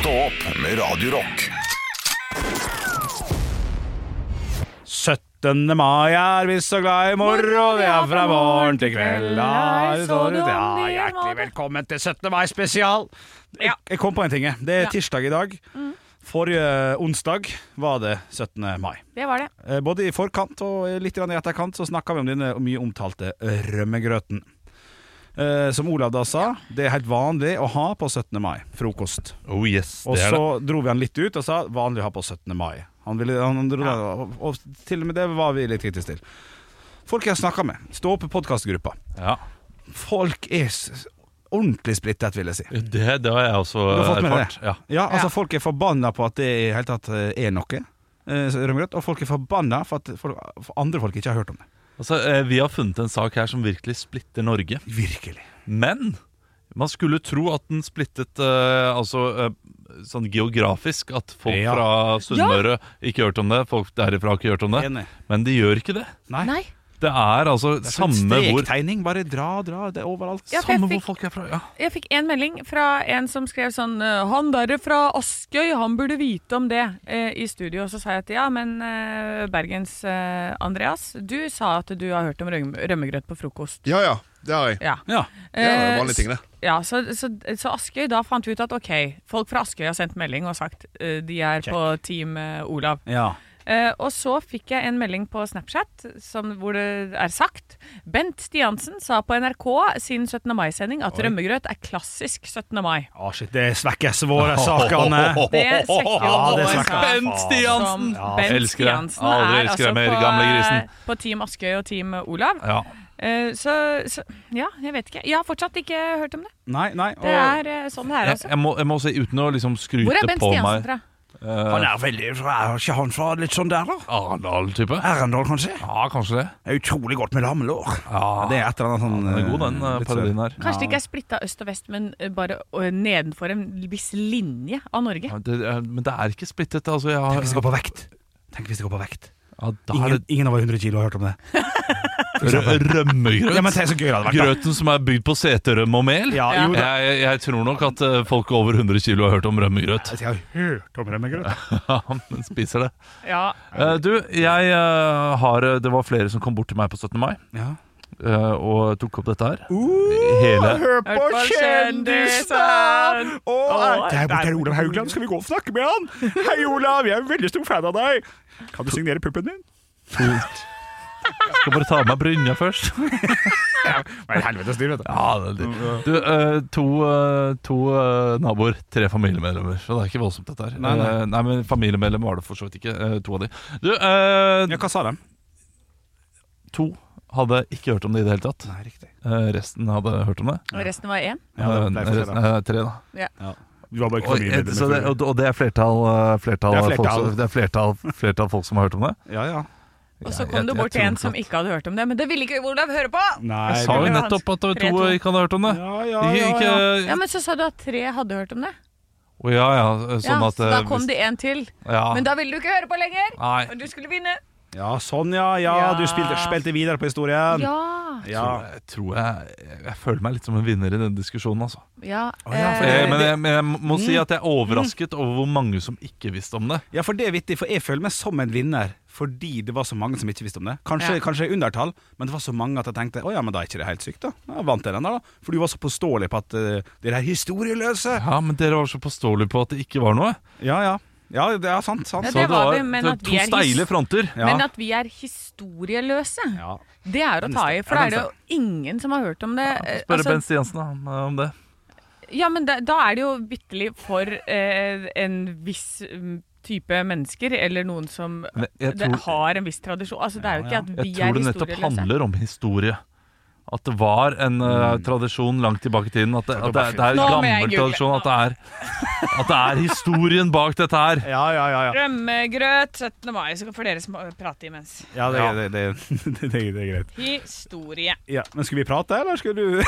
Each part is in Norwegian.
Stå opp med Radio Rock. 17. mai er vi så glad i moro, vi er fra morgen til kveld. Nei, Ja, så du om ja, det, hjertelig Maren? velkommen til 17. mai spesial. Jeg, jeg kom på en ting. jeg. Det er tirsdag i dag. Mm. Forrige onsdag var det 17. mai. Det var det. Eh, Både i forkant og litt grann i etterkant så snakka vi om denne mye omtalte rømmegrøten. Eh, Som Olav da sa, det er helt vanlig å ha på 17. mai. Frokost. Oh yes, Og det er så det. dro vi han litt ut og sa vanlig å ha på 17. mai. Han ville, han dro det, og, og til og med det var vi litt kritiske til. Folk jeg har snakka med, stå opp i podkastgruppa. Ja. Folk er s- ordentlig splittet, vil jeg si. Det, det har jeg også eh, Du har fått med deg erfart. det? Ja. Ja, altså Ja. Folk er forbanna på at det i hele tatt eh, er noe. eh, Rømgrøt, og folk er forbanna for at folk, for andre folk ikke har hørt om det. Altså, eh, vi har funnet en sak her som virkelig splitter Norge. Virkelig. Men man skulle tro at den splittet eh, altså, eh, sånn geografisk. At folk Ja. fra Sunnmøre ikke hørte om det, folk derifra ikke hørte om det. Enig. Men de gjør ikke det. Nei. Nei. Det er altså Det er sånn samme hvor Strektegning. Bare dra, dra. Det er overalt. Ja, for jeg Samme hvor fikk- folk er fra. Ja. Jeg fikk en melding fra en som skrev sånn eh, Han derre fra Askøy, han burde vite om det eh, i studio. Og så sa jeg at ja, men eh, Bergens eh, Andreas, du sa at du har hørt om røm rømmegrøt på frokost. Ja ja, det har jeg. Ja. Ja. Det er jo en Eh, vanlig ting, det. Ja, så, så, så Askøy, da fant vi ut at ok, folk fra Askøy har sendt melding og sagt eh, de er på Team eh, Olav. ja. Eh, og så fikk jeg en melding på Snapchat som, hvor det er sagt Bent Stiansen sa på NRK sin 17. mai-sending at rømmegrøt er klassisk 17. mai. Å, Ah, shit, det svekkes våre sakene. Det svekker jo Ja, det vår svekker sak. Bent Stiansen! Som Ja, Bent elsker det. Stiansen Aldri er elsker altså deg mer, på, gamle grisen. på Team Askøy og Team Olav. Ja. Eh, så, så ja, jeg vet ikke. Jeg har fortsatt ikke hørt om det. Nei, nei. Det er eh, sånn det er, Jeg, altså. jeg, må, jeg må si, uten å liksom skryte Hvor er Bent på Stiansen meg fra? Han er veldig Er ikke han fra litt sånn der, da? Ah, Arendal-type? Arendal, kanskje? Ja, kanskje det. Er utrolig godt med lammelår. Ja. Det er et eller annet sånn Den er god, den eh, litt parodien her. Kanskje det ikke er splitta øst og vest, men eh, bare eh, nedenfor en viss linje av Norge. Ja, det, er- men det er ikke splittet. Altså, jeg har, Tenk hvis det går på vekt. Tenk hvis det går på vekt. ja, da er Ingen, det ingen over 100 kilo har hørt om det. rø rømmegrøt. Ja, men tenk så gøy det hadde vært. Grøten som er bygd på seterømme og mel. Ja, jo da. jeg, jeg tror nok at eh, folk over 100 kilo har hørt om rømmegrøt. da. Jeg har hørt om rømmegrøt. Ja, men spiser det. Ja, Eh, du, jeg eh, har Det var flere som kom bort til meg på 17. mai Ja. eh, og tok opp dette her. Hele Hør Hørt på kjendisen! Åh, Det er borte her Olav Haugland, skal vi gå og snakke med han? Hei, Olav, jeg er en veldig stor fan av deg. Kan du signere puppen din? Skal bare ta med meg brynja først. Men helvete styr, vet du. Ja, det, er litt- du, eh, to eh, to eh, naboer, tre familiemedlemmer. Så det er ikke voldsomt, dette her. Nei, nei. Eh, nei men familiemedlem var det for så vidt ikke. eh, to av de. Du, eh, Ja, hva sa de? to hadde ikke hørt om det i det hele tatt. Nei, riktig. Eh, resten hadde hørt om det. Og resten var én? Ja, det Eh, ble for resten, sent, da. eh, tre, da. Du var bare ikke Og, fornøyd med eh, så det, og, og det er flertall, eh, flertall, Det er Folk, flertall. som- det er flertall, flertall folk som har hørt om det. Ja, ja. Og så Jeg- kom jeg- du jeg bort til tror en ikke som at- ikke hadde hørt om det, men det ville ikke Olav høre på! Nei, Jeg sa jo det var nettopp at tre, to. to ikke hadde hørt om det. Ja, ja, De ja, ikke, ja. Ja, Men så sa du at tre hadde hørt om det. Å, ja, ja, sånn ja, at så da eh, kom hvis- det en til. ja. Men da ville du ikke høre på lenger! Nei. Og du skulle vinne. Ja, sånn ja, ja, Ja. du spilte, spilte videre på historien Ja. ja. Så Jeg tror jeg, jeg, jeg føler meg litt som en vinner i denne diskusjonen, altså. ja, ja, for Eh, eh, det- Mm. men, jeg, men jeg må si at jeg er overrasket over hvor mange som ikke visste om det. ja, for det er vittig, for jeg føler meg som en vinner Fordi det var så mange som ikke visste om det Kanskje, Ja. kanskje jeg er undertall, men det var så mange at jeg tenkte Åja, men da er ikke det helt sykt da Jeg vant til den der da For du var så påståelig på at eh, Dere er historieløse Ja, Men dere var så påståelige på at det ikke var noe. Ja, ja, ja, det er sant, sant Ja, Så det var var vi, men det var at to vi er his- steile fronter. ja. Men at vi er historieløse, ja. det er å ta i. For Ja, da er det jo ingen som har hørt om det. eh, Spørre altså, Ben Stiansen da, om- om det. Ja, men da, da er det jo vitterlig for eh, en viss mm, type mennesker, eller noen som Men jeg det, tror- har en viss tradisjon. Altså, det er jo ikke at vi Jeg tror er det nettopp historieløse. handler om historie. At det var en eh, Mm. tradisjon langt tilbake i tiden. At det, at det, det er en Nå må jeg gammel google. tradisjon. At det, er, at det er historien bak dette her. Ja, ja, ja. ja. Rømmegrøt 17. mai, så får dere som prate imens. ja, det, det, det, det, det, det er greit. Historie. Ja. Men skulle vi prate, eller skulle du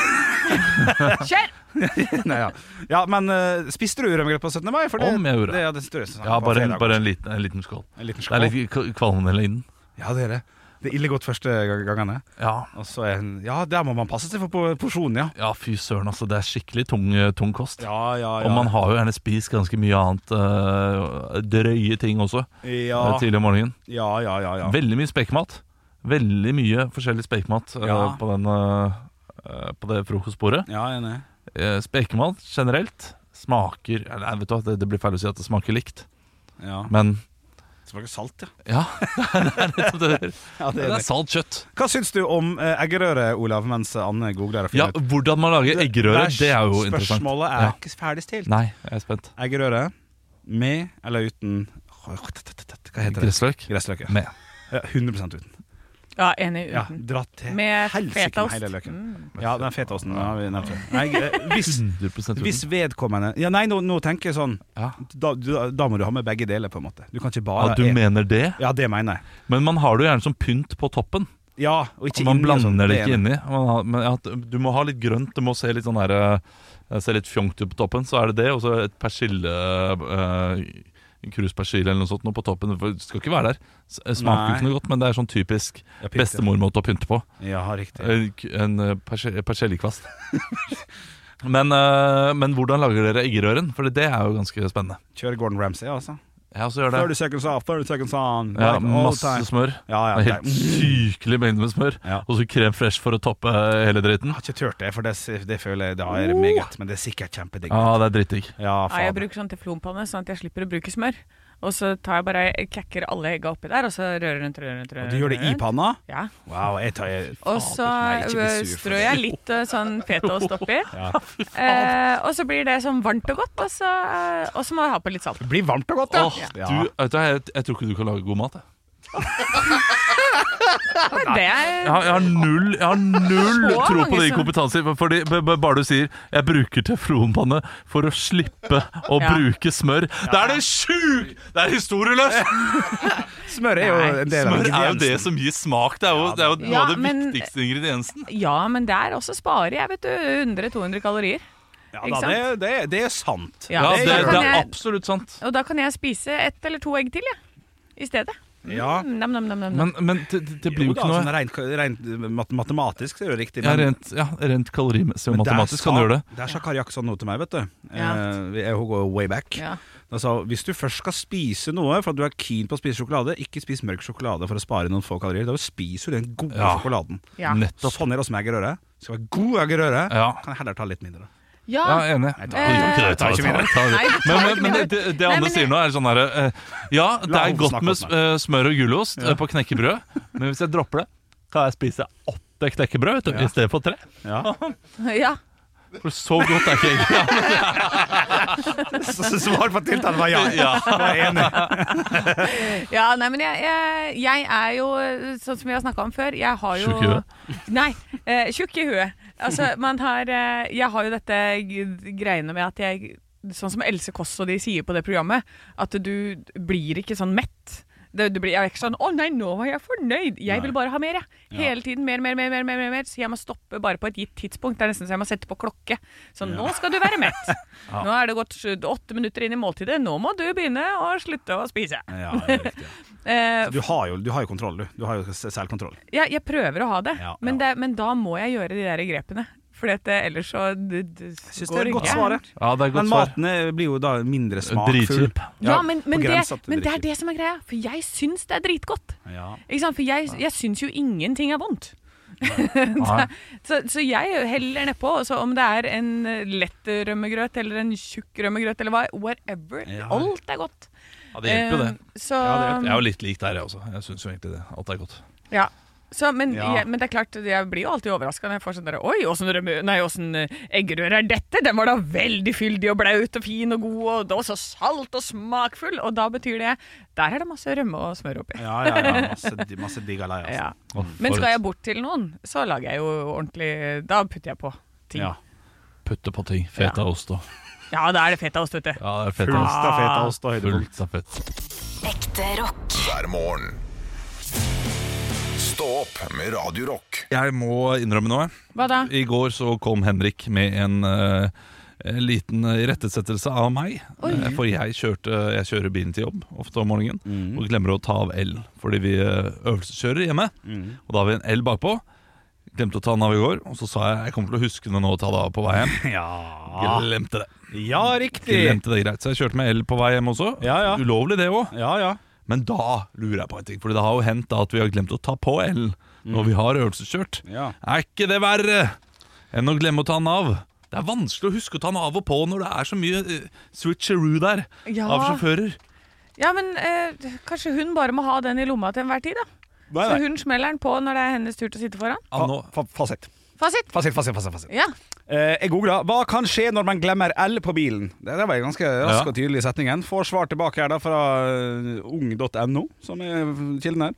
Kjør! Nei, ja. ja, men eh, spiste du rømmegrøt på 17. mai? For det, Om jeg gjorde. Det, er den største saken Ja, på bare, en- fredag bare også. en, liten, en liten skål. En liten Det er skål. litt k- kvalmende i den. Ja, det er det. Det er ille godt første ga- gangene. Ja. Og så er den Ja, der må man passe seg for po- porsjonen, ja. ja, fy søren, altså. Det er skikkelig tung, eh, tung kost. Ja, ja, ja. Og man har jo gjerne spist ganske mye annet eh, drøye ting også ja, eh, tidlig om morgenen. ja, ja, ja, ja. Veldig mye spekmat. Veldig mye forskjellig spekmat eh, Ja. på, den, eh, eh, på det frokostbordet. Ja, jeg er enig. Eh, Spekemat generelt smaker Nei, vet du hva, det, det blir feil å si at det smaker likt, Ja. men Smaker salt, ja. ja. det er nettopp det der. ja det Det er er det. salt kjøtt. Hva syns du om eh, eggerøre, Olav, mens Anne googler og Ja, finner ut? Hvordan man lager eggerøre, det er jo interessant. Spørsmålet er Ja. ikke ferdigstilt. Nei, jeg er spent. Eggerøre med eller uten Hva heter det? Gressløk? Gressløk. ja. Med. Ja, 100 uten. Ja, enig. Ja, Uten. dratt til Mhm. Med helsike fetaost. Mm. hele løken. Ja, den fetaosten har vi nevnt. før. Nei, eh, hvis, 100 uten. hvis vedkommende Ja, nei, nå, nå tenker jeg sånn Ja. da, du, da må du ha med begge deler, på en måte. Du kan ikke bare ja, du en- mener det? Ja, det mener jeg. Men man har det jo gjerne som pynt på toppen. Ja, og ikke man inni og sånn. blander det er ikke en- inni. Man har, men at du må ha litt grønt, det må se litt sånn her eh, Se litt fjongt ut på toppen, så er det det. Og så et persille eh, Krus persille eller noe sånt noe på toppen. For Det skal ikke være der. S- eh, Smaker Nei. ikke noe godt, men det er sånn typisk Ja, pynt, ja. bestemormåte å pynte på. Ja, riktig. En, k- en eh, persi- persillekvast. men, eh, men hvordan lager dere eggerøren? For det er jo ganske spennende. Kjør Gordon Ramsay, altså. Ja, så gjør det. 30 seconds off, 30 seconds on. Ja, Like all masse time. smør. Ah, Ja, Mm. ja, En det- Helt sykelig mengde med smør. Ja. Og så krem fresh for å toppe eh, hele dritten. Jeg har ikke turt det, for det, s- det føler jeg da er det meget. Men det er sikkert kjempedigg. Ja, Ah, det er drittdigg. Ja, Ja, faen. jeg bruker sånn teflonpanne, sånn at jeg slipper å bruke smør. Og så tar jeg bare, jeg kakker alle egga oppi der, og så rører rundt, rører rundt. Og rører Du gjør det i rundt. panna? Ja. Wow, jeg tar jeg, Og faen, så nei, ikke bli eh, sur for strør det. jeg litt eh, sånn fetaost oppi. Ja. Eh, og så blir det sånn varmt og godt, og så, eh, og så må jeg ha på litt salt. Det blir varmt og godt, Åh, ja. du, vet du, hva, jeg, jeg tror ikke du kan lage god mat. Jeg, Det er jeg, har, jeg har null, jeg har null Så tro mange på din som- kompetanse. Fordi, b- b- bare du sier 'jeg bruker teflonpanne for å slippe å Ja. bruke smør', det er det sjuk! Det er historieløst! Smør er jo en del av Smør er jo ingrediensen. det som gir smak. Det er jo, det er jo noe Ja, av det men- viktigste ingrediensen. Ja, men der også sparer jeg, vet du. 100-200 kalorier. Ja, Ikke da, det, det, det er sant. Ja, så Ja, det, da det kan er jeg, absolutt sant. og da kan jeg spise ett eller to egg til, jeg. I stedet. Ja. Mm, Nam, nam, nam, nam. nam. Men, men det, det- det blir Jo jo da, ikke noe sånn rent, rent mat- matematisk så er det jo riktig. Ja, rent, ja, rent kalorimessig og men der matematisk kan sa- du gjøre det. Der sa Kari Jaksson noe til meg, vet du. Ja. Eh, vi- jeg- hun går way back. Ja. Da sa hun, hvis du først skal spise noe for at du er keen på å spise sjokolade, ikke spis mørk sjokolade for å spare noen få kalorier. Da spiser du den gode Ja. sjokoladen. Ja. Nettopp. Sånn er det også med eggerøre. Skal være god eggerøre, Ja. kan jeg heller ta litt mindre. ja. Ja, jeg er enig. tar- Eh, jeg tar ikke videre. ta- ta- Nei, jeg tar Men, ikke men, men videre. det, det, det Nei, Anne men jeg- sier nå, er sånn herre Ja, det La er henne godt snakke om med s- eh, smør og gulost eh, på knekkebrød, men hvis jeg dropper det, kan jeg spise åtte knekkebrød vet du, i stedet for tre. Ja. ja. For så godt er ikke egg. Så svar på tiltalen var ja. Ja. Jeg er enig. Ja, nei, men jeg, jeg, jeg er jo, sånn som vi har snakka om før Jeg har jo Tjukk i huet? Nei, eh, tjukk i huet. Altså, man har eh, Jeg har jo dette g- greiene med at jeg Sånn som Else Kåss og de sier på det programmet, at du blir ikke sånn mett. Det, du blir, jeg er ikke sånn 'Å nei, nå var jeg fornøyd'. Jeg vil bare ha mer, jeg. Hele tiden mer, mer, mer, mer, mer, mer, mer. Så jeg må stoppe bare på et gitt tidspunkt. Det er nesten så jeg må sette på klokke. Sånn 'Nå skal du være mett'. Nå er det gått sju- åtte minutter inn i måltidet. Nå må du begynne å slutte å spise. Ja, det er riktig. Eh, Du har jo, du har jo kontroll, du. Du har jo s- selvkontroll. Ja, jeg prøver å ha det, Ja, men, ja. det, men da må jeg gjøre de der grepene. Fordi at det, ellers så d- d- Syns det går er et godt gærent. svar. jeg. Ja, det er Men godt svar. maten er- blir jo da mindre smakfull. Dritkjip. Ja, men, på men, det, grensa til men det er dritkjip. det som er greia. For jeg syns det er dritgodt. Ja. Ikke sant? For jeg, jeg syns jo ingenting er vondt. Nei. Så, så jeg heller nedpå. og Så om det er en eh, lett rømmegrøt eller en tjukk rømmegrøt eller hva, whatever. Ja. Alt er godt. Ja, det hjelper jo det. Eh, Så, Jeg er jo litt lik der, jeg også. Jeg syns jo egentlig det. Alt er godt. ja. Så, men, Ja. jeg, men det er klart, jeg blir jo alltid overraska når jeg får sånn der Oi, åssen rømme- nei, åssen, eh, eggerøre er dette? Den var da veldig fyldig og blaut og fin og god, og det var så salt og smakfull. Og da betyr det Der er det masse rømme og smør oppi. Ja, ja, ja. Masse, masse digg alei, altså. Ja. Å, Men for skal et jeg bort til noen, så lager jeg jo ordentlig Da putter jeg på ting. Ja. Ja, Putte på ting. Feta Ja. ost og da er det fetaost, vet du. Ja, det er fett. Full ass. stafett av oss da, høydepunkt. Fullt av fett. Ekte rock. hver morgen. Stå opp med Radio Rock. Jeg må innrømme noe. Hva da? I går så kom Henrik med en eh, en liten irettesettelse av meg. Eh, For jeg, kjørte, jeg kjører bilen til jobb ofte om morgenen og glemmer å ta av el. Fordi vi eh, øvelseskjører hjemme, og da har vi en el bakpå. Glemte å ta den av i går, og så sa jeg jeg kommer til å huske det nå å ta det av på vei hjem. Ja. Glemte det. ja, riktig. Glemte det greit, Så jeg kjørte med el på vei hjem også. Ja, ja. Ulovlig det òg. Ja, ja. Men da lurer jeg på en ting, for det har jo hendt da at vi har glemt å ta på elen når vi har øvelseskjørt. Ja. Er ikke det verre enn å glemme å ta den av? Det er vanskelig å huske å ta den av og på når det er så mye eh, switcheroo der Ja. av sjåfører. Ja, men eh, kanskje hun bare må ha den i lomma til enhver tid, da. Så hun smeller den på når det er hennes tur til å sitte foran. Ja, nå- Fa- fa- Fasit. Fasit! Fasit, fasit, fasit. fasit. Ja. Eh, jeg googla 'Hva kan skje når man glemmer L på bilen?' Det, det var en ganske rask Ja. og tydelig setning. Jeg Får svar tilbake her da fra eh, ung.no, som er kilden her.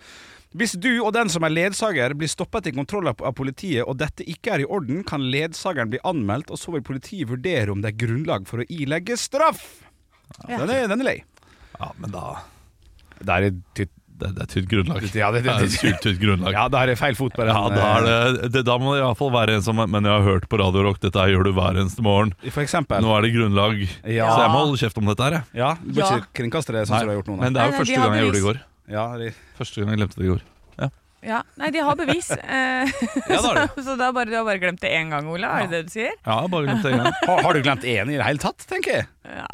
Hvis du og den som er ledsager blir stoppet i kontroll av av politiet, og dette ikke er i orden, kan ledsageren bli anmeldt, og så vil politiet vurdere om det er grunnlag for å ilegge straff. Ja. Den, er, den er lei. ja, men da Der er tytt, Det, det er tynt grunnlag. Ja, det- det- er et syltynt grunnlag. ja, der er feil fot på den. Ja, da, er det, det, da må det iallfall være en som Men jeg har hørt på Radio Rock, dette her gjør du hver eneste morgen. eh, For eksempel. Nå er det grunnlag, Ja. så jeg må holde kjeft om dette her. jeg. Ja, du bør Ja. ikke kringkaste det sånn som du har gjort nå. Men det er Nei, jo nei, vi første har gang jeg gjorde det i bevis. går. nei. Ja, det- Første gang jeg glemte det i går. ja. Nei, de har bevis. eh, Ja, da er det. så da bare, du har bare glemt det én gang, Ola. Er det det du sier? Ja, jeg bare glemte det en gang. Har, har du glemt én i det hele tatt, tenker jeg?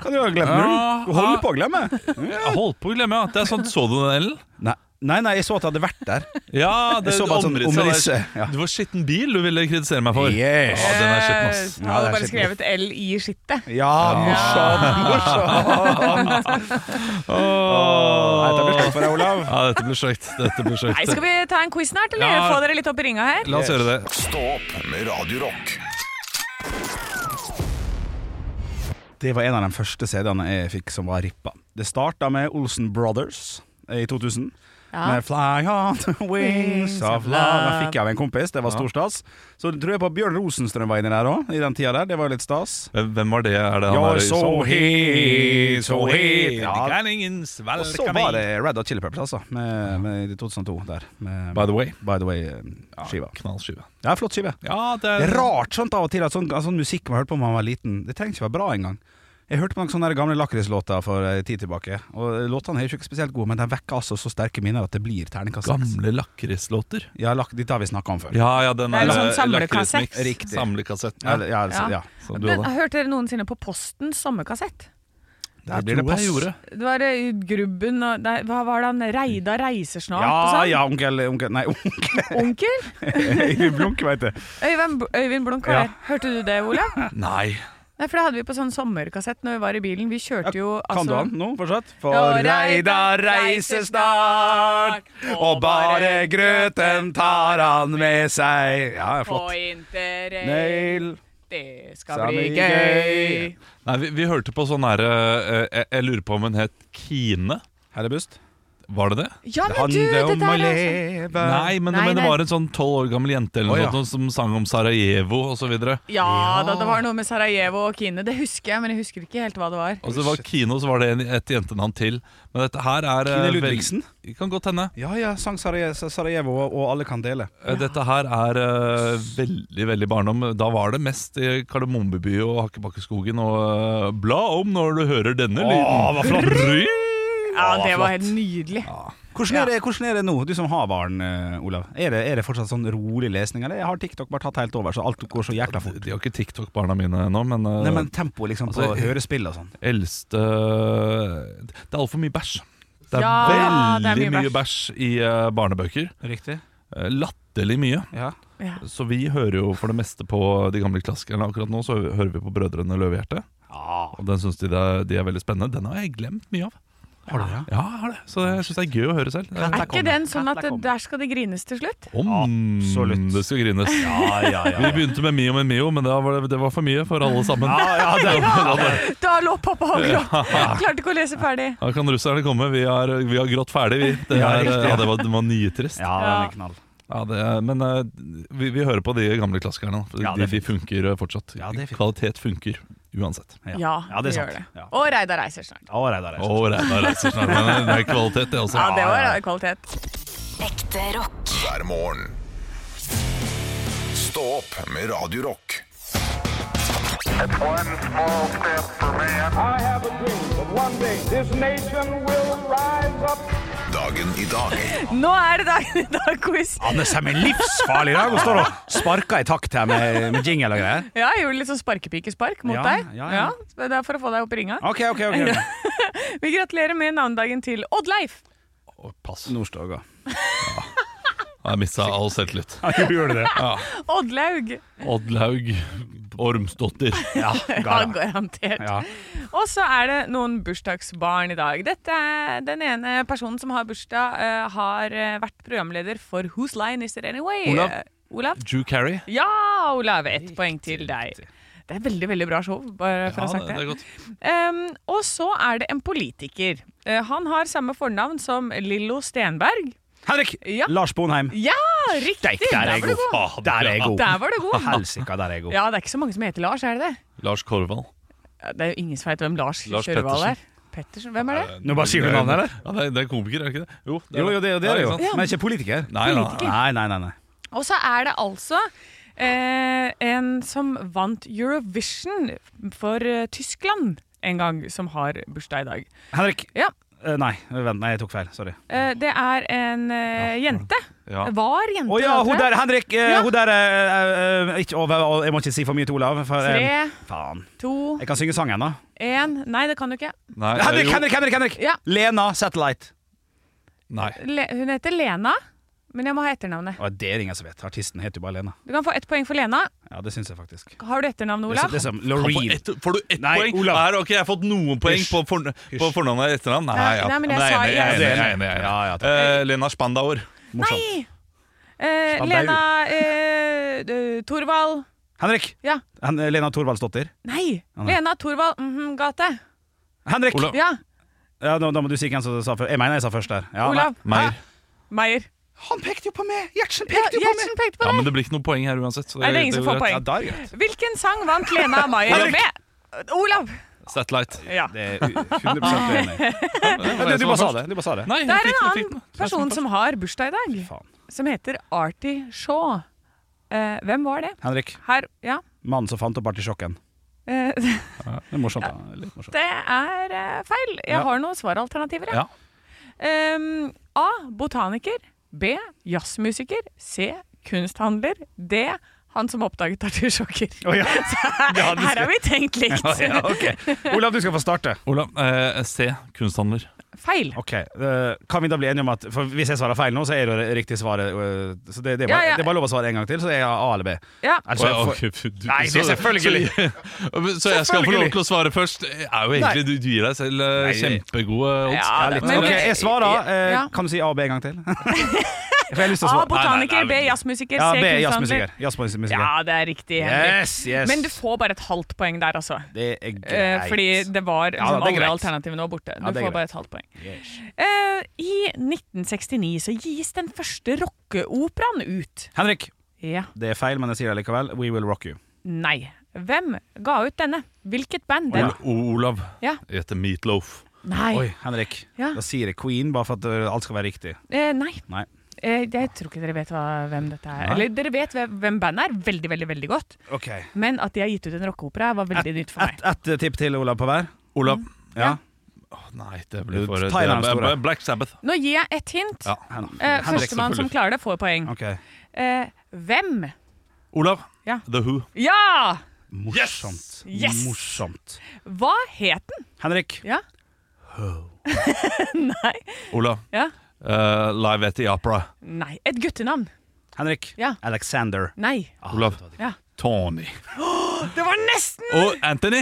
Kan du ha glemt Ja, null? Du holder ja. på å glemme. Jeg holdt på å glemme, ja. Det er sånn, Så du den ellen? Nei, nei, nei, jeg så at det hadde vært der. Ja, Jeg så bare sånn omrisse. Ja. Det var skitten bil du ville kritisere meg for. Yes. Ja, den er skitten, ass. Eh, Ja, hadde det er bare skitten. skrevet L i skittet. Ja, morsomt! morsomt. Dette blir stort for deg, Olav. Ja, dette blir sløyt. Dette blir sløyt. Nei, Skal vi ta en quiz snart, eller Ja. få dere litt opp i ringa her? La oss gjøre det. Stå opp med Radio Rock. Det var en av de første CD-ene jeg fikk som var rippa. Det starta med Olsen Brothers i 2000. Med 'Fly on the wings of love'. Den fikk jeg av en kompis, det var stor stas. Så tror jeg på Bjørn Rosenstrøm var inni der òg, i den tida der. Det var jo litt stas. Hvem- Hvem var det? Er det han You're der- so hit, so hit. Ja. Ja. Det kan ingen svelge Og så meg. var det Red Hot Chili Peppers, altså. Med, med i 2002 der. Med By the way. By the eh, Way-skiva. Knallskive. Ja, flott skive. Ja, det Det er er rart sånt av og til at sånn, sånn musikk man hørte på da man var liten, det trenger ikke være bra engang. Jeg hørte på noen sånne der gamle lakrislåter for en tid tilbake, og låtene er jo ikke spesielt gode, men de vekker altså så sterke minner at det blir terningkast seks. Gamle lakrislåter. Ja, lak dette har vi snakka om før. Ja, ja, den Det er der, sånn eh, samlekassett. lakrismix. Riktig. Samlekassetten. Eller, ja, altså, Ja. ja. Som du Men, hadde. hørte dere noensinne på Postens sommerkassett? Der Det blir det tror pass. jeg gjorde. Det var eh, Grubben og nei, Hva var det han Reidar reiser snart? og Ja, sånn. ja, onkel, onkel Nei, onkel Onkel? Blunke, veit du. Øyvind, B- Øyvind Blunk var Ja. der. Hørte du det, Olav? Nei. Nei, for det hadde vi på sånn sommerkassett når vi var i bilen. Vi kjørte jo Kan du altså, han nå, fortsatt? Ja, For Reidar reiser snart, og bare grøten tar han med seg. Ja, På flott. interrail, Nail. det skal Sammen bli i gøy. gøy. Nei, vi, vi hørte på sånn herre jeg, jeg lurer på om hun het Kine. Hellebust. Var det det? Ja, Det men du, det handler om å der er sånn leve. Nei, men, Nei, men det nei. var en sånn tolv år gammel jente eller Å, noe ja. sånt som sang om Sarajevo og så videre. Ja, da, det var noe med Sarajevo og Kine. Det husker jeg, men jeg husker ikke helt hva det var. Og så var Kino, så var det en, et jentenavn til. Men dette her er eh, Kine vel- Ludvigsen? Det Kan godt hende. Ja, ja, sang Saraje- Sarajevo og og alle kan dele. Eh, Dette her er eh, veldig veldig barndom. Da var det mest i Kardemommeby og Hakkebakkeskogen. Og eh, bla om når du hører denne lyden. hva flott. Ja, det var helt nydelig. Hvordan er, det, hvordan er det nå, du som har barn, eh, Olav? Er det, er det fortsatt sånn rolig lesning? Eller har TikTok bare tatt helt over, så alt går så jækla fort? De har ikke TikTok-barna mine ennå, men, eh, Nei, men tempoet liksom altså, på hørespill og sånn. eldste Det er altfor mye bæsj. Det er Ja, det er veldig mye mye bæsj i eh, barnebøker. Riktig. Eh, Latterlig mye. Ja. Ja. Så vi hører jo for det meste på de gamle klassikerne. Akkurat nå så hører vi på Brødrene Løvehjerte. Og den syns de, det er- de er veldig spennende. Den har jeg glemt mye av. Har du det? Ja, jeg har det. Så jeg syns det er gøy å høre selv. Kan Er Der ikke kom den den. sånn Der at det- kom den. der skal det grines til slutt? Om Absolutt. det skal grines. Ja, ja, ja. Vi begynte med Mio med Mio, men det var, det var for mye for alle sammen. Ja, ja, det Da lå pappa og gråt! Klarte ikke å lese ferdig. Da kan russerne komme. Vi har, vi har grått ferdig, vi. Det, Ja, er, riktig. ja, det var, det var nitrist. ja, den er knall. Ja, det, er- men eh, vi, vi hører på de gamle klassikerne. da. Ja, de, det er de funker eh, fortsatt. Ja, det er fint. Kvalitet funker uansett. Ja, ja det er vi sant. gjør det. Ja. Og Reidar reiser snart. Å, Reidar, Å, Reidar. Reidar reiser snart. Men eh, det er kvalitet, det også. Ja, det var kvalitet. Ekte rock. hver morgen. Stå opp med Radio Rock. One small step for man. I have a dream that one day this nation will rise up. Dagen i dag Nå er det dagen i dag-quiz. Anne er min livsfarlig i dag. Hun står og sparker i takt her med, med jingle og greier. Ja, jeg gjorde litt sånn sparkepikespark mot Ja, deg. ja, ja. så det er for å få deg opp i ringa. Ok, ok, ok. Vi gratulerer med navnedagen til Oddleif. Å, Pass. Nordstoga. Jeg mista all selvtillit. Ja, gjorde det. Ja, Oddlaug. Oddlaug Ormsdottir. Ja, ga det. garantert. Ja. Og så er det noen bursdagsbarn i dag. Dette er Den ene personen som har bursdag, eh, har eh, vært programleder for Whose Line Is It Anyway? Olav. Eh, Olav? Drew Carey. Ja, Olav. Ett poeng til deg. Det er veldig veldig bra show. bare for å ha sagt det. det er godt. Ehm, og så er det en politiker. Eh, han har samme fornavn som Lillo Stenberg. Henrik! Ja. Lars Bonheim. Ja, riktig! Steik, der er jeg var du god. god. Ah, Der er jeg god. Der var du god. Helsika, der er jeg god. Ja, det er ikke så mange som heter Lars, er det det? Lars Korvald. Ja, Det er jo ingen som vet hvem Lars, Lars Kjørvald er. Pettersen, Hvem er det? Nå bare sier du navnet, eller? Ja, det er, det er komiker, er det ikke det? Jo, Jo, jo, det, det er det jo. Ja, ikke sant? Men ikke politiker. Nei, nei, nei. Nei, nei, nei. nei. Og så er det altså eh, en som vant Eurovision for eh, Tyskland en gang, som har bursdag i dag. Henrik. Ja. Eh, nei, vent, nei, jeg tok feil. Sorry. Eh, det er en eh, jente. Ja. Var jente. Å ja, da, tror hun jeg. der, Henrik! eh, Ja. Hun der eh, eh, ikke, å, å, Jeg må ikke si for mye til Olav. For, eh, Tre, faen. to, Jeg kan synge sangen, da. én Nei, det kan du ikke. Nei, Henrik, Eh, jo. Henrik, Henrik! Henrik Ja. Lena Satellite. Nei. Le hun heter Lena, men jeg må ha etternavnet. Å, det er det ingen som vet. Artisten heter jo bare Lena. Du kan få ett poeng for Lena. Ja, det syns jeg faktisk. Har du etternavnet, Det er, så- Olav? det er som Han får, Loreen. ett, får du ett Nei, poeng? Olav. Her, ok, jeg har fått noen poeng Hysj. på, for, på fornavnet og etternavn. Nei, ja. Nei, men jeg Nei, sa- jeg er enig, jeg er enig. Jeg er enig. Ja, ja, Eh, Lena Spandauer. Morsomt. Eh, Spandau. Lena eh, d- Torvald Henrik! Ja. Hen- Lena Thorvaldsdottir. Nei! nei. Lena Torvald mhm, gate. Henrik! Olav. Ja, Ja, nå, nå må du si hvem som sa først. Jeg mener jeg sa først der. Ja, Olav. Meier. Hæ? Meier. Han pekte jo på meg! Gjertsen Ja, Gjertsen pekte på Ja, deg. men det blir ikke noe poeng her uansett. så Nei, det er ingen som Ja, går får greit. poeng. da er det greit. Hvilken sang vant Lena Meier Henrik! med? Olav. Satellite. Ja. Det er u- 100 enig. Ja, Du, du bare sa det. Du bare sa det. Nei, Det jeg er fikk en jeg fikk annen person som har bursdag i dag, Faen. som heter Artie Shaw. Eh, hvem var det? Henrik, Her, ja. mannen som fant opp artisjokken. Eh, Det er morsomt. da. Litt morsomt. det er eh, feil. Jeg Ja. har noen svaralternativer. jeg. Ja. Ehm, A. Botaniker. B. Jazzmusiker. C. Kunsthandler. D. Han som oppdaget artisjokker. Å, ja. Her har vi tenkt likt. Ja, ok. Olav, du skal få starte. Olav, eh, C. Kunsthandler. Feil. Ok, eh, Kan vi da bli enige om at For Hvis jeg svarer feil nå, så er det jo riktig svaret eh, Så det, det, er bare, Ja, ja. det er bare lov å svare en gang til, så er jeg A eller B. Ja. Altså, jeg får- Å, ja, ok, du- Nei, det er så- selvfølgelig. Så, så jeg skal få lov Selvfølgelig. til å svare først. Jeg Er jo egentlig, du gir deg selv eh, Nei, det- kjempegode odds. Ja, litt, men- ok, jeg svarer. eh, Ja. Kan du si A og B en gang til? For jeg har lyst til å A. svare. Botaniker. B. Jazzmusiker. Ja, C. B. Kunsthandler. Jazzmusiker. Jazzmusiker. Ja, det er riktig. Henrik. Yes, yes. Men du får bare et halvt poeng der, altså. Det er Eh, greit. fordi det var liksom, det er alle greit. alternativene var borte. Du Ja, det er får bare greit. et halvt poeng. Yes. Eh, I 1969 så gis den første rockeoperaen ut. Henrik, Ja. det er feil, men jeg sier det likevel. We Will Rock You. Nei. Hvem ga ut denne? Hvilket band? Den? Ol- Olav. Ja. Jeg heter Meatloaf. Nei. Oi, Henrik. Ja. Da sier jeg Queen, bare for at eh, alt skal være riktig. Eh, nei. Nei. Eh, jeg tror ikke dere vet hva, hvem dette er. Nei. Eller dere vet hvem hvem bandet er, veldig, veldig veldig godt. Ok Men at de har gitt ut en rockeopera, var veldig nytt for meg. Ett et, tipp til, Olav, på hver. Olav. Ja. Åh, nei, det blir for det Thailand er- store. Black Sabbath. Nå gir jeg ett hint. Ja. Hen Eh, Henrik, Førstemann som klarer det, får poeng. Ok. Eh, hvem? Olav. Ja. The Who. Ja! Morsomt. Yes! Morsomt. Hva het den? Henrik. Ja. nei. Olav. Ja. Eh, live at the Opera. nei. Et guttenavn. Henrik. Ja. Alexander. Nei. Olav. Ja. Tony. Det var nesten! Og Anthony.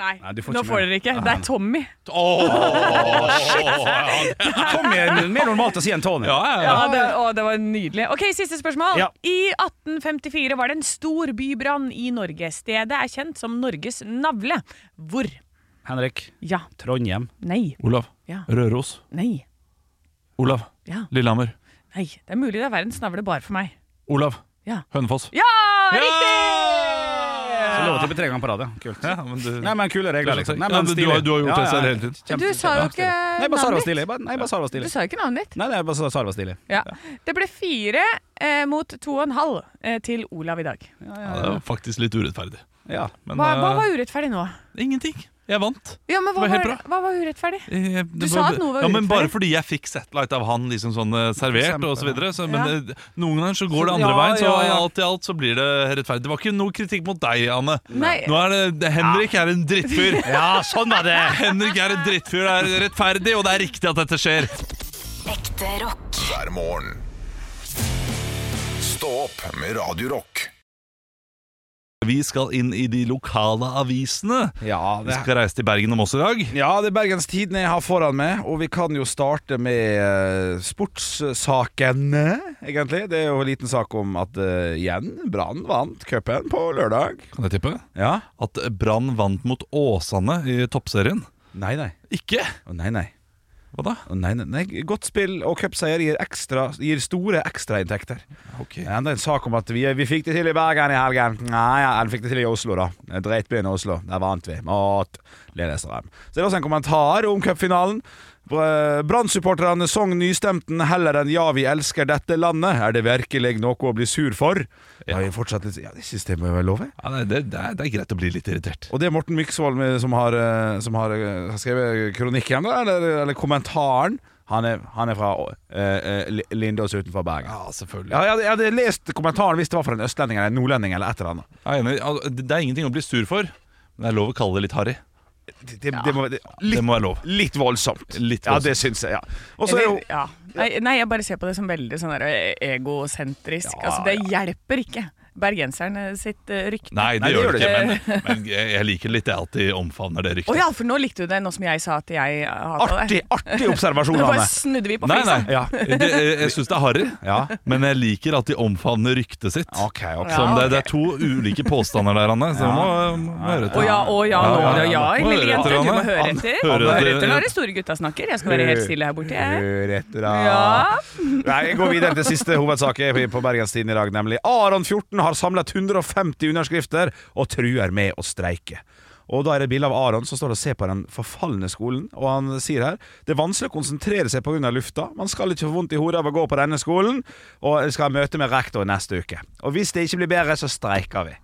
Nei, Nei, du får ikke nå Ah. får med. dere ikke. Det er Tommy. Åh, shit! Kom igjen, mer normalt å si enn Tony. Ja, ja, ja. Ja, det, å, det var nydelig. Ok, Siste spørsmål. Ja. I 1854 var det en stor bybrann i Norge. Stedet er kjent som Norges navle. Hvor? Henrik, Ja. Trondheim. Nei. Olav. Ja. Røros. Nei. Olav. Ja. Lillehammer. Nei. Det er mulig det er verdens navle bare for meg. Olav. Ja. Hønefoss. Ja! Riktig! Så lov til å bli tre ganger på rad. ja. Kult. Ja, men du, Nei, men kule regler, liksom. Nei, Ja, men du stilig. har- du har gjort Ja, det ja, selv ja. hele tiden. Kjempe- Du sa jo ikke Nei, bare Sara var navnet ditt. stilig. Bare- Nei, bare Sara var Du stilig. sa jo ikke navnet ditt. Nei, nei, bare Sara var stilig. Ja. Det ble fire eh, mot to og en halv eh, til Olav i dag. Ja, det var faktisk litt urettferdig. Ja. Men Hva, hva eh, var urettferdig nå? ingenting. Jeg vant. Ja, men var hva helt var, hva var urettferdig? Eh, det sa at noe var ja, men Bare urettferdig. fordi jeg fikk satellite av han liksom sånn eh, servert eksempel, og så videre. Så, men Ja. det, noen ganger så går det Ja, andre veien, så ja, ja. alt i alt så blir det rettferdig. Det var ikke noe kritikk mot deg, Anne. Nei. Nå er det, det Henrik er en drittfyr. Ja, sånn var det Henrik er en drittfyr. Det er rettferdig, og det er riktig at dette skjer. Ekte rock. hver morgen. Stå opp med Radio Rock. Vi skal inn i de lokale avisene. Ja, Vi det skal reise til Bergen og Moss i dag. ja, det er Bergens Tidende jeg har foran meg, og vi kan jo starte med eh, sportssakene, egentlig. Det er jo en liten sak om at eh, igjen, Brann vant cupen på lørdag. Kan jeg tippe? Ja. At Brann vant mot Åsane i toppserien. Nei, nei. Ikke? Å, nei, nei. Hva da? Å, nei, nei, nei. Godt spill og cupseier gir, ekstra- gir store ekstrainntekter. Ok. Ja, det er en sak om at vi, vi fikk det til i Bergen i helgen. Nei, ja, vi fikk det til i Oslo, da. Dreitbyen i Oslo. Der vant vi. Mot Lillestrøm. Så det er også en kommentar om cupfinalen. Br- Brann-supporterne sang nystemten heller enn 'Ja, vi elsker dette landet'. Er det virkelig noe å bli sur for? Ja, vi er fortsatt litt, ja det synes jeg må være lov, jeg. Ja, nei, det, det, er, det er greit å bli litt irritert. Og det er Morten Myksvold med- som har, eh, som har eh, skrevet kronikken, da, eller, eller kommentaren. Han er, han er fra eh, eh, Li- Lindås utenfor Bergen. Ja, selvfølgelig. Ja, jeg, hadde, jeg hadde lest kommentaren hvis det var fra en østlending eller en nordlending eller et eller annet. Jeg er enig. Al- Det det er ingenting å bli sur for, men det er lov å kalle det litt harry. Det, det, det må, det, Det litt, må være lov. litt voldsomt. Litt Ja, voldsomt. det syns jeg, ja. Og så er jo Eller- ja. nei, nei, jeg bare ser på det som veldig sånn der, eh, egosentrisk. altså, det hjelper ikke bergenserne sitt eh, rykte. Nei, det Nei, det gjør det gjør ikke, men, men jeg jeg liker litt det at de omfavner det Å ryktet. ja, for nå likte du det, nå som jeg sa at jeg hata artig, det. artig observasjon, Nå bare Anne. snudde vi på Nei, nei. flisa. Ja. Det, jeg jeg syns det er harry, Ja. men jeg liker at de omfavner ryktet sitt. Ok, ok. Som Ja, det, ok. det er to ulike påstander der, Anne. Så må, må Å høre etter. ja, å ja, nå, Ja, ja, ja, ja. Må høre intelligente. etter, Du må Anne. høre Anne, etter. hører Hør etter. etter når de store gutta snakker. Jeg skal være helt stille her borte. jeg. Hør etter, da. Ja. Nei, jeg går videre til siste hovedsak jeg er på Bergenstiden i dag, nemlig Aron 14 har samlet 150 underskrifter og truer med å streike. Og Da er det et bilde av Aron som står og ser på den forfalne skolen. Og Han sier her det er vanskelig å konsentrere seg pga. lufta. Man skal ikke få vondt i hodet av å gå på denne skolen. Og jeg skal ha møte med rektor neste uke. Og hvis det ikke blir bedre, så streiker vi.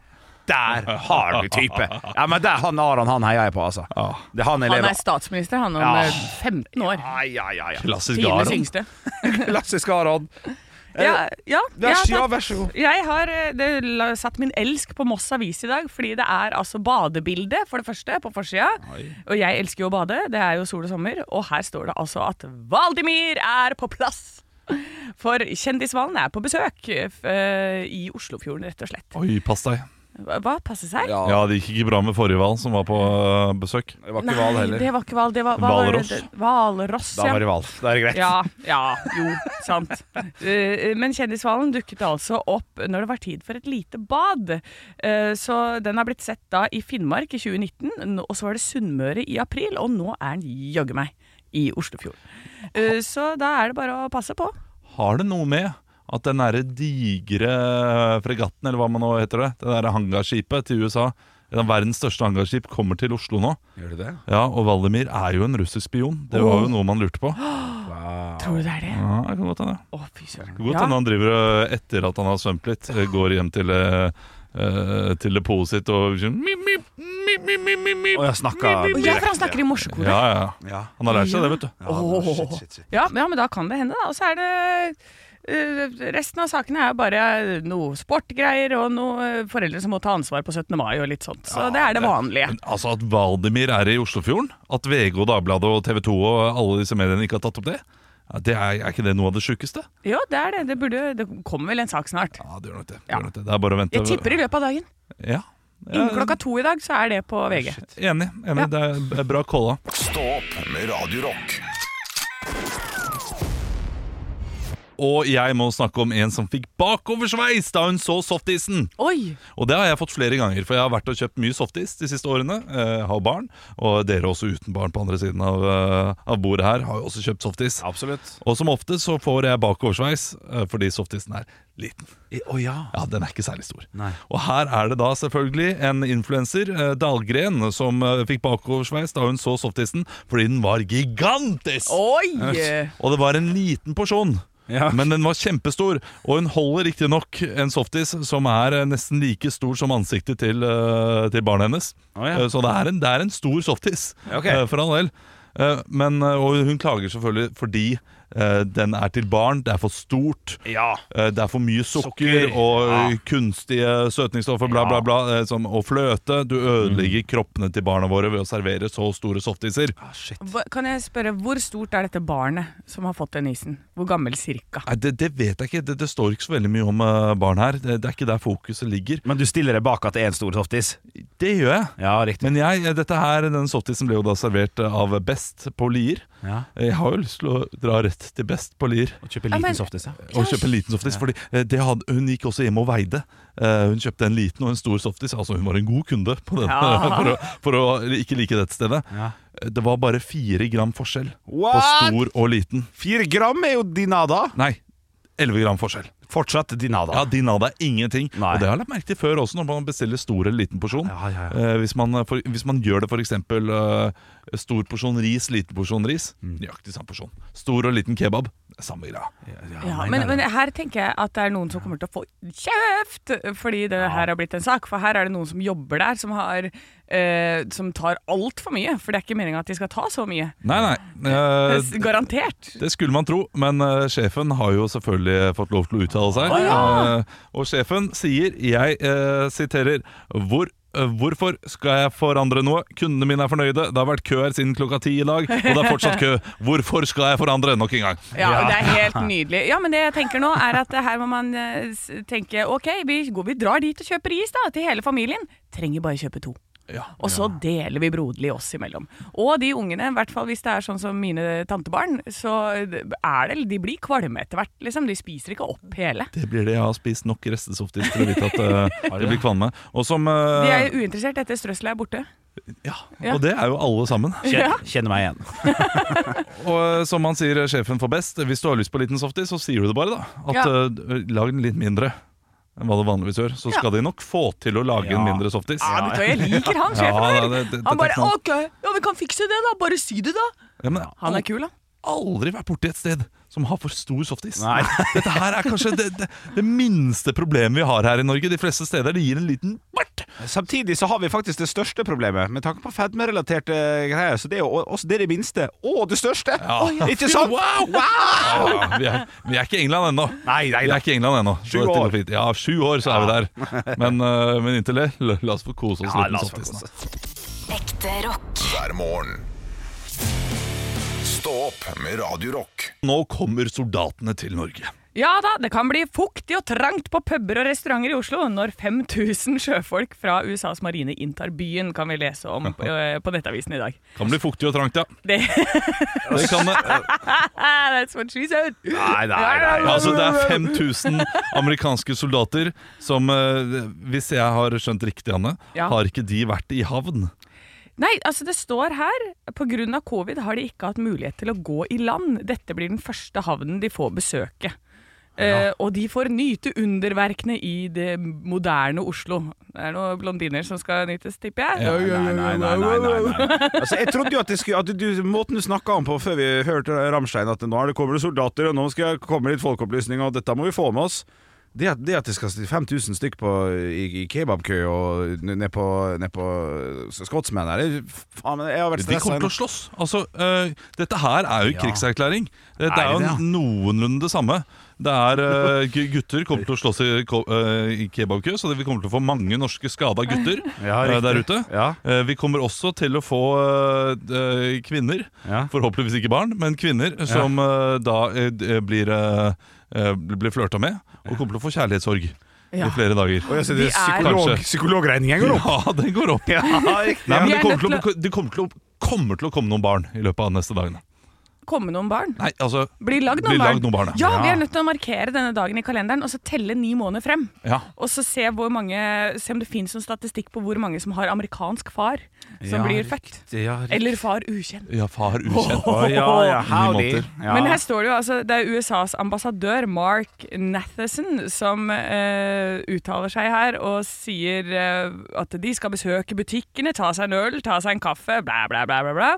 Der har du type! Ja, men der han Aron han heier jeg på, altså. Det er han Han elever. er statsminister, han om Ja. eh, 15 år. Ja, ja, ja, ja. Klassisk Tidenes Aron. yngste. Klassisk Aron. Ja, ja, Vær, ja, så- ja, takk. vær så god. Jeg har eh, det, la- satt min elsk på Moss Avis i dag, fordi det er altså badebilde, for det første, på forsida. Og jeg elsker jo å bade, det er jo sol og sommer. Og her står det altså at Valdimir er på plass! For Kjendishvalen er på besøk f- eh, i Oslofjorden, rett og slett. Oi, pass deg. Hva hva passer seg? Ja, det gikk ikke bra med forrige hval, som var på øh, besøk. Det var Nei, ikke hval heller. det var ikke hval. Det var hva var det? Hvalross. Hvalross, Da var det hval. Da er det greit. Ja, ja, jo, sant. Eh, Men Kjendishvalen dukket altså opp når det var tid for et lite bad. Eh, Så den har blitt sett da i Finnmark i 2019, og så var det Sunnmøre i april, og nå er den jaggu meg i Oslofjorden. Eh, Så da er det bare å passe på. Har det noe med at den derre digre fregatten, eller hva man nå heter det, det derre hangarskipet til USA, det er verdens største hangarskip, kommer til Oslo nå? Gjør du det? Ja, og Valdemir er jo en russisk spion. Det var jo noe man lurte på. Ja, Tror du det er det? det kan godt hende. Å, fy søren. Det kan Godt Ja. hende han driver øh, etter at han har svømt litt, øh, går hjem til øh, øh, til depotet sitt og sånn, mip, mip, mip, mip, mip, mip, mip. Å, jeg snakka Å, Ja, for han snakker i morsekode. Ja, Ja. ja. Ja. Han har lært seg det, vet du. Åh, shit, shit, shit. Ja, men da kan det hende, da. Og så er det eh, Resten av sakene er jo bare noe sportgreier og noe eh, foreldre som må ta ansvar på 17. mai og litt sånt. Så det er det vanlige. Men altså At Valdemir er i Oslofjorden, at VG og Dagbladet og TV 2 og alle disse mediene ikke har tatt opp det, ja, det er, er ikke det noe av det sjukeste? Ja, det er det. Det, burde, det kommer vel en sak snart. Ja, det gjør nok det. Det, Ja. gjør nok det. det er bare å vente. Jeg tipper i løpet av dagen. Ja, Innen klokka to i dag så er det på VG. Enig. enig. Ja. Det er b- bra calla. Stå opp med Radio Rock. Og jeg må snakke om en som fikk bakoversveis da hun så softisen. Oi! Og det har jeg fått flere ganger, for jeg har vært og kjøpt mye softis de siste årene. Eh, har barn, og dere også uten barn på andre siden av, eh, av bordet her har jo også kjøpt softis. Absolutt. Og som ofte så får jeg bakoversveis eh, fordi softisen er liten. Å ja. Ja, den er ikke særlig stor. Nei. Og her er det da selvfølgelig en influenser, eh, Dahlgren, som eh, fikk bakoversveis da hun så softisen fordi den var gigantisk! Oi! Og det var en liten porsjon. Ja. Men den var kjempestor, og hun holder riktignok en softis som er eh, nesten like stor som ansiktet til, eh, til barnet hennes. Å, ja. Eh, Så det er en, det er en stor softis, Ok. eh, for all del. Eh, Men, eh, og hun klager selvfølgelig fordi eh, den er til barn, det er for stort. Ja. Eh, Det er for mye sukker, Sukker, og ja. eh, kunstige søtningsstoffer, bla, bla, bla. eh, Som, og fløte. Du ødelegger Mm. kroppene til barna våre ved å servere så store softiser. Hva- Kan jeg spørre, hvor stort er dette barnet som har fått den isen? Hvor gammel cirka? Nei, det, det vet jeg ikke. Det, det står ikke så veldig mye om eh, barn her. Det, det er ikke der fokuset ligger. Men du stiller deg bak at det er en stor softis? Det gjør jeg. Ja, riktig. Men jeg, eh, dette her, den softisen ble jo da servert eh, av Best på Lier. Ja. Jeg har jo lyst til å dra rett til Best på Lier Å kjøpe Ja, men- liten softis, ja. og kjøpe en liten softis. Fordi eh, det hadde, hun gikk også hjem og veide. Eh, Hun kjøpte en liten og en stor softis. Altså hun var en god kunde på den, for, å, for å ikke like dette stedet. Ja. Eh, Det var bare fire gram forskjell på What? stor og liten. Fire gram er jo dinada. Nei, elleve gram forskjell. Fortsatt dinada. Ja, Dinada er ingenting. Ah. Nei. Og det har jeg lagt merke til før også, når man bestiller stor eller liten porsjon. Ja, ja, ja. Eh, hvis, man, eh, for, hvis man gjør det f.eks. Uh, stor porsjon ris, liten porsjon ris. Mm. Nøyaktig samme porsjon. Stor og liten kebab. Samme greia. Ja, nei, men, nei, men nei. her tenker jeg at det er noen som kommer til å få kjeft fordi det her har blitt en sak. For her er det noen som jobber der, som, har, eh, som tar altfor mye. For det er ikke meninga at de skal ta så mye. Nei, nei. eh, S- Garantert. det skulle man tro, men eh, sjefen har jo selvfølgelig fått lov til å uttale seg. Eh, og sjefen sier, jeg eh, siterer Hvor eh, Hvorfor skal jeg forandre noe? Kundene mine er fornøyde. Det har vært kø her siden klokka ti i dag, og det er fortsatt kø. Hvorfor skal jeg forandre nok en gang? Ja, og Det er helt nydelig. Ja, Men det jeg tenker nå, er at her må man eh, s- tenke OK, vi, går, vi drar dit og kjøper is da, til hele familien. Trenger bare kjøpe to. Ja. Og så deler vi broderlig oss imellom. Og de ungene, i hvert fall hvis det er sånn som mine tantebarn, så eh, er det, de blir kvalme etter hvert. Liksom. De spiser ikke opp hele. Det blir det. Jeg har spist nok restesoftis til å vite at eh, Har du det det? blir kvalme. Og De som eh, er uinteressert etter strøsselet er borte. ja, ja. Og det er jo alle sammen. Kjenner, kjenner meg igjen. Og eh, som man sier eh, sjefen for best, hvis du har lyst på liten softis, så sier du det bare, da. At Ja. eh, lag den litt mindre enn hva du vanligvis gjør. Så skal de nok få til å lage en Ja. mindre softis. Ja, vet du hva, jeg liker han sjefen Ja, her. det- det- det- han bare det er OK, ja, vi kan fikse det, da. Bare si det, da. Ja, men Han er kul, da. aldri vært borti et sted som har for stor softis. Nei. Dette her er kanskje det, det, det minste problemet vi har her i Norge. De fleste steder det gir en liten bart. Samtidig så har vi faktisk det største problemet med tanke på fedmerelaterte greier. Så det er jo også det, er det minste og det største. Ikke sant? Wow! Ja, vi, er, vi er ikke i England ennå. Nei, nei, Vi da. er ikke i England ennå. Så Sju dette går år. fint. Ja, sju år så er vi der. Men, eh, men inntil det, la, la oss få kose oss Ja, litt la med oss få softisen. da. Ekte rock. hver morgen. Stå opp med Radio Rock. Nå kommer soldatene til Norge. Ja da, det kan bli fuktig og trangt på puber og restauranter i Oslo når 5000 sjøfolk fra USAs marine inntar byen, kan vi lese om eh, på Nettavisen i dag. Kan bli fuktig og trangt, ja. Det, Det, kan, det. that's what she said. Nei, nei, nei. Ja, altså, det er 5000 amerikanske soldater som, eh, hvis jeg har skjønt riktig, Anne, Ja. har ikke de vært i havn? Nei, altså det står her Pga. covid har de ikke hatt mulighet til å gå i land. Dette blir den første havnen de får besøke. Eh, og de får nyte underverkene i det moderne Oslo. Det er noen blondiner som skal nytes, tipper jeg. Nei, nei, nei, nei, nei, nei, nei. Altså, jeg trodde jo at, det skulle, at du, måten du snakka om på før vi hørte Ramstein, at nå er det kommer det soldater, og nå skal jeg komme litt folkeopplysning, og dette må vi få med oss. Det at, det at det skal stå 5000 stykk på, i, i kebabkø og n- ned på, ned på Skotsmenn her det er- Faen, men jeg har vært De stressa kommer til å slåss. Altså, eh, dette her er jo Ja. krigserklæring. Eh, Det, det Er er jo det det, ja? noenlunde det samme. Det er eh, gu- Gutter kommer til å slåss i, ko- eh, i kebabkø, så det- vi kommer til å få mange norske skada gutter Ja, eh, der riktig. ute. Ja. Eh, vi kommer også til å få eh, eh, kvinner, Ja. forhåpentligvis ikke barn, men kvinner som eh, da eh, d- eh, blir, eh, eh, blir flørta med og kommer til å få kjærlighetssorg. Ja. i flere dager. Og jeg sier, det Vi er er- psykolog, Kanskje. psykologregningen går opp. Ja, den går opp. Ja, riktig. Nei, men Vi det er kommer, til nødt å, det kommer til å kommer til å komme noen barn i løpet av de neste dagene. Komme noen barn. Nei, altså Bli lagd Bli noen barn. lagd noen barn, ja, ja. vi er nødt til å markere denne dagen i kalenderen og så telle ni måneder frem. Ja. Og så se, hvor mange, se om det finnes noen statistikk på hvor mange som har amerikansk far som Ja, blir født. Ja, riktig. Eller far ukjent. Ja, far ukjent. Å, ja, ja, Ni howdy. måneder. Ja. Men her står det jo altså Det er USAs ambassadør Mark Natheson som eh, uttaler seg her og sier eh, at de skal besøke butikkene, ta seg en øl, ta seg en kaffe, bla, bla, bla. bla, bla.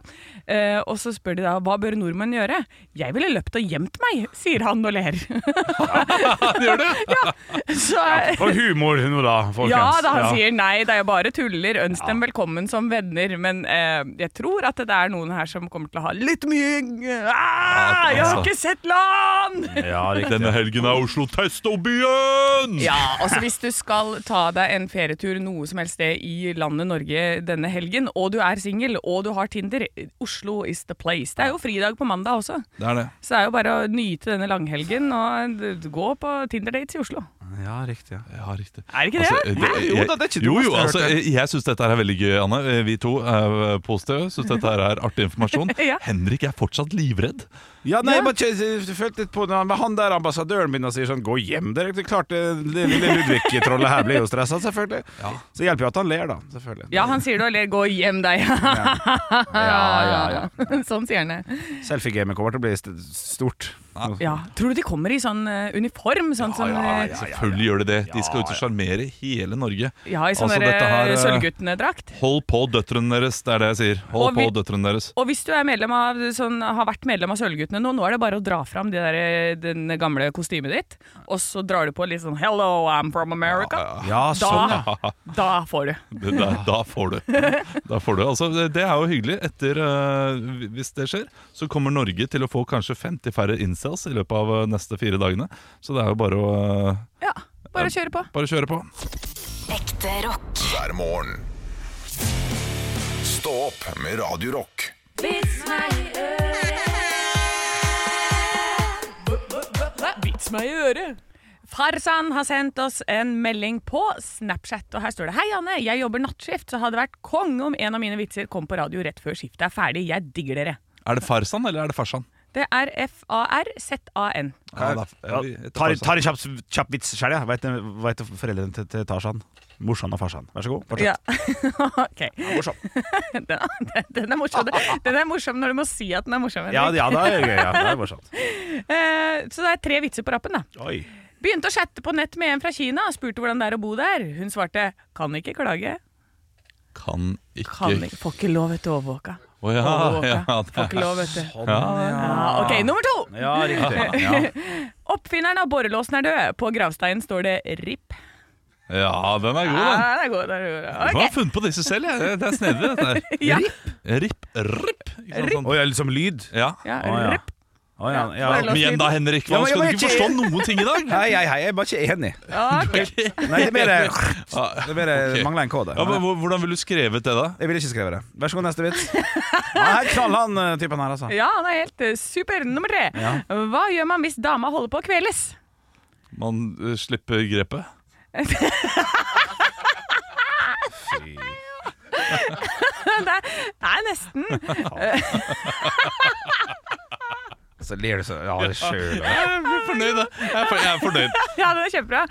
Eh, og så spør de da hva bør nordmenn gjøre? Jeg ville løpt og gjemt meg, sier han og ler. Gjør det? Så eh, Og humor nå, da, folkens. Ja da, han Ja. sier nei, det er jo bare tuller. Ønsk dem velkommen som venner. Men eh, jeg tror at det er noen her som kommer til å ha litt mye ah, Ja, Jeg har altså. ikke sett land! Ja, riktig. Denne helgen er Oslo Testobyen! Ja, altså Hvis du skal ta deg en ferietur noe som helst sted i landet Norge denne helgen, og du er singel og du har Tinder, Oslo is the place. Det er jo fridag på mandag også, Det er det. så det er jo bare å nyte denne langhelgen og eh, gå på Tinder-dates i Oslo. Ja, riktig. Ja. Ja, riktig. Er det ikke det? Altså, Hæ? Jo da, det er ikke det verste jo, jo, jeg har altså, hørt, det. jeg jeg syns dette her er veldig gøy, Anne. Eh, Vi to er eh, positive. Syns dette her er artig informasjon. Ja. Henrik er fortsatt livredd. Ja, nei, jeg bare kj- jeg følte litt på det. Men han der ambassadøren min og sier sånn 'gå hjem'. Det er riktig klart det det lille Ludvig-trollet her blir jo stressa, selvfølgelig. Så hjelper jo at han ler, da. Selvfølgelig. Ja, han sier det og ler. Gå hjem, deg. Ja, ja, sånn sier han det. Selfie-gamet kommer til å bli st- stort. Ja. Tror du de kommer i sånn eh, uniform? Sånn som eh, Selvfølgelig gjør de det. De skal ut og sjarmere hele Norge. Ja, i sånn Altså, der, dette her, eh, eh, Sølvguttene-drakt. Hold på døtrene deres, det er det jeg sier. Og Hold vi- på døtrene deres. Og hvis du er medlem av, sånn, har vært medlem av Sølvguttene nå, nå er det bare å dra fram det der, eh, den gamle kostymet ditt, og så drar du på litt sånn 'Hello, I'm from America'. Ja, sånn, ja. Da, da får du. Det, da, da får du. Da får du. Altså, det det er jo hyggelig. Etter, eh, hvis det skjer, så kommer Norge til å få kanskje 50 færre incels i løpet av eh, neste fire dagene. Så det er jo bare å eh, Ja, bare kjøre på. bare kjøre på. Ekte rock. hver morgen. Stå opp med Radio Rock. Vits meg i øret. Farsan har sendt oss en melding på Snapchat, og her står det Hei, Anne. Jeg jobber nattskift, så hadde det vært konge om en av mine vitser kom på radio rett før skiftet er ferdig. Jeg digger dere. Er det Farsan eller er det Farsan? Det er F-A-R-Z-A-N. Ja, Ja, da- ja, vi heter tar, Farsan. tar en kjapp, kjapp vits sjøl, jeg. Veit veit foreldrene til, til Tarzan. Morsan og farsan. Vær så god. Fortsett. Ja. ok. Morsom. Den, den, den er morsom. Den er morsom når du må si at den er morsom. Henrik. Ja, ja, det er gøy. Ja, det er morsomt. Eh, så det er tre vitser på rappen, da. Oi. Begynte å chatte på nett med en fra Kina. Spurte hvordan det er å bo der. Hun svarte 'kan ikke klage'. Kan ikke Kan ikke, får ikke lov etter overvåka. Å ja, Overvåka. Ah, ja, det Får ikke er- lov etter ja. ja, OK, nummer to. Ja, riktig. Ja. Oppfinneren av borrelåsen er død. På gravsteinen står det 'RIP'. ja, den er god, Ja, den. den er god, den er god. Du Ah, Ok. har funnet på disse selv. jeg. Det- Det er snedig, dette her. Ja. Ripp, ripp. Ikke sant, sånn. Oi, er det liksom lyd? Ja. Ja, Å, ja. RIP. Å, ja, ja. Bare la- Kom igjen da, Henrik. Hva, Ja, men jeg skal du var ikke ikke- forstå noen ting i dag? Hei, hei, hei, jeg er bare ikke enig. Ok. Nei, det er mer Ah, Det er mer, eh, ok. mangler en kode. Ja, men hvor- Hvordan ville du skrevet det, da? Jeg ville ikke skrevet det. Vær så god, neste vits. Nei, knall han eh, typen her, altså. Ja, det er helt eh, super. Nummer tre. Ja. Hva gjør man hvis dama holder på å kveles? Man eh, slipper grepet. Det er, det er nesten. Så ler du så Ja, det sjøl. Jeg blir fornøyd, da. Jeg er, for, jeg er fornøyd. Ja, den er kjempebra.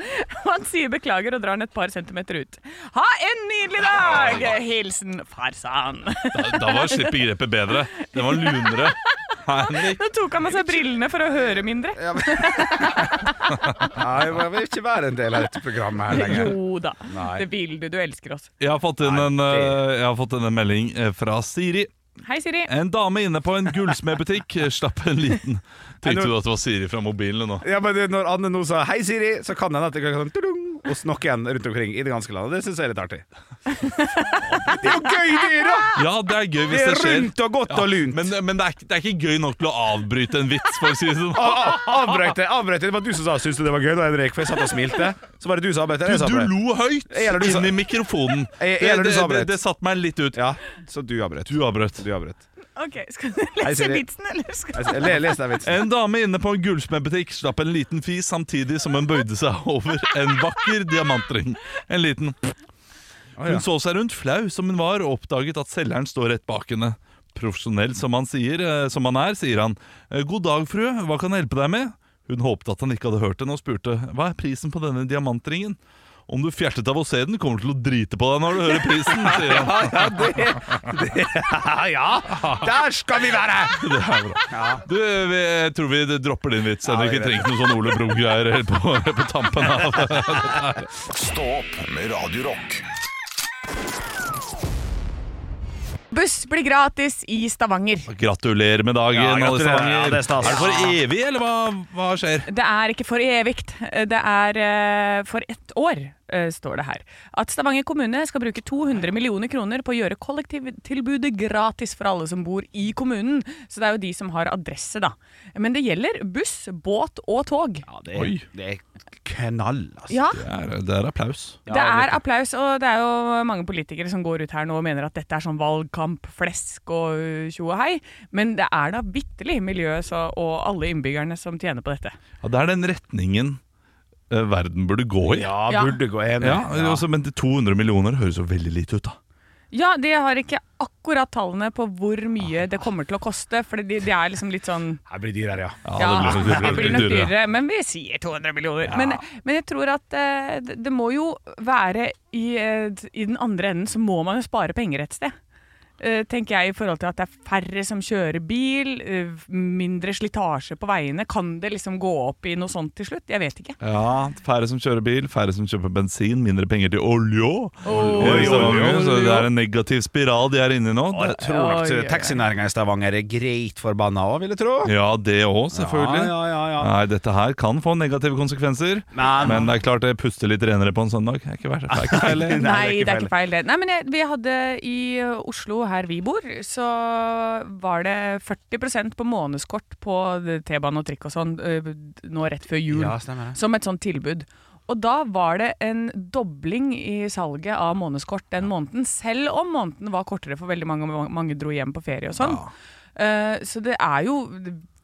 Han sier beklager og drar den et par centimeter ut. Ha en nydelig dag! Hilsen farsan. Da, da var slippe grepet bedre. Den var lunere. Henrik. Nå tok han av seg brillene for å høre mindre. Nei, jeg vil ikke være en del av dette programmet her lenger. Jo da, Nei. det vil du. Du elsker oss. Jeg har fått inn en, eh, jeg har fått inn en melding eh, fra Siri. Hei, Siri. Eh. En dame inne på en gullsmedbutikk eh, slapp en liten Nei, nå- Tenkte du at det var Siri fra mobilen nå? Ja, men det- Når Anne nå sa 'hei, Siri', så kan hende at det kan sånn tudung, og snokke igjen rundt omkring i det ganske landet. Det syns jeg er litt artig. Det er jo gøy, det, da! Ja, det er gøy Det hvis det er skjer. rundt og godt og lunt. Men, men det, er, ikke- det er ikke gøy nok til å avbryte en vits, for å si det sånn. Ah, ah, Avbrøt det. avbrøt det. Det var du som sa 'syns du det var gøy', da, Henrik, for jeg satt og smilte. Så var det du som avbrøt det. Jeg Du, sa du det. lo høyt Eller du sa- inn i mikrofonen. Eller du det, sa det, brett. det satte meg litt ut. Ja, så du avbrøt. Du avbrøt. Du avbrøt. Ok, Skal du Hei, lese Siri. vitsen, eller skal Jeg le- Les den vitsen. En dame inne på en gullsmedbutikk slapp en liten fis samtidig som hun bøyde seg over en vakker diamantring. En liten Å, ja. Hun så seg rundt, flau som hun var, og oppdaget at selgeren står rett bak henne. Profesjonell som han, sier, eh, som han er, sier han. «Eh, God dag, frue, hva kan jeg hjelpe deg med? Hun håpet at han ikke hadde hørt henne, og spurte hva er prisen på denne diamantringen? Om du fjertet av å se den, kommer du til å drite på deg når du hører prisen, sier han. Ja, ja! Der skal vi være! Det er bra. Du, vi, jeg tror vi dropper din vits, Henrik. vi gjør Vi det. trenger ikke noe sånn Ole Bro-greier helt på, på tampen av Stå opp med Radio Rock. Buss blir gratis i Stavanger. Gratulerer med dagen, Ja, gratulerer. alle sammen. Ja, det er stas. det for evig, eller hva, hva skjer? Det er ikke for evig, det er eh, for ett år, eh, står det her. At Stavanger kommune skal bruke 200 millioner kroner på å gjøre kollektivtilbudet gratis for alle som bor i kommunen. Så det er jo de som har adresse, da. Men det gjelder buss, båt og tog. Ja, det, er, det er knall, altså. Ja, Det er, det er applaus. det er applaus, og det er jo mange politikere som går ut her nå og mener at dette er sånn valgkampflesk og uh, tjo og hei, men det er da vitterlig miljøet så- og alle innbyggerne som tjener på dette. Ja, det er den retningen eh, verden burde gå i. Ja, Ja. burde gå enig. Ja, altså, men 200 millioner høres jo veldig lite ut, da. Ja, de har ikke akkurat tallene på hvor mye det kommer til å koste, for det de er liksom litt sånn Her blir dyrere, ja. ja, det blir nok det blir nok dyrere. dyrere, men vi sier 200 millioner. Men, men jeg tror at eh, det det må jo være i, eh, I den andre enden så må man jo spare penger et sted. Eh, tenker jeg i forhold til at det er færre som kjører bil, eh, mindre slitasje på veiene. Kan det liksom gå opp i noe sånt til slutt? Jeg vet ikke. Ja, Færre som kjører bil, færre som kjøper bensin, mindre penger til olje. Oi, Ja, oi, oi, oi. Så det er en negativ spiral de er inne i nå. Og jeg Det, tror nok Oi, oi, oi. taxinæringa i Stavanger er greit forbanna òg, vil jeg tro. ja, det òg, selvfølgelig. Ja, ja, ja, ja. Nei, dette her kan få negative konsekvenser. Men- Men det er klart, det puster litt renere på en søndag. Det er ikke verst. Det er ikke feil. det. Nei, det er ikke feil det. Nei, men jeg, vi hadde i ø, Oslo, her vi bor, så var det 40 på månedskort på det- T-bane og trikk og sånn ø, d- nå rett før jul. Ja, stemmer det. som et sånt tilbud. Og da var det en dobling i salget av månedskort den måneden, selv om måneden var kortere for veldig mange, mange dro hjem på ferie og sånn. Eh, så det er jo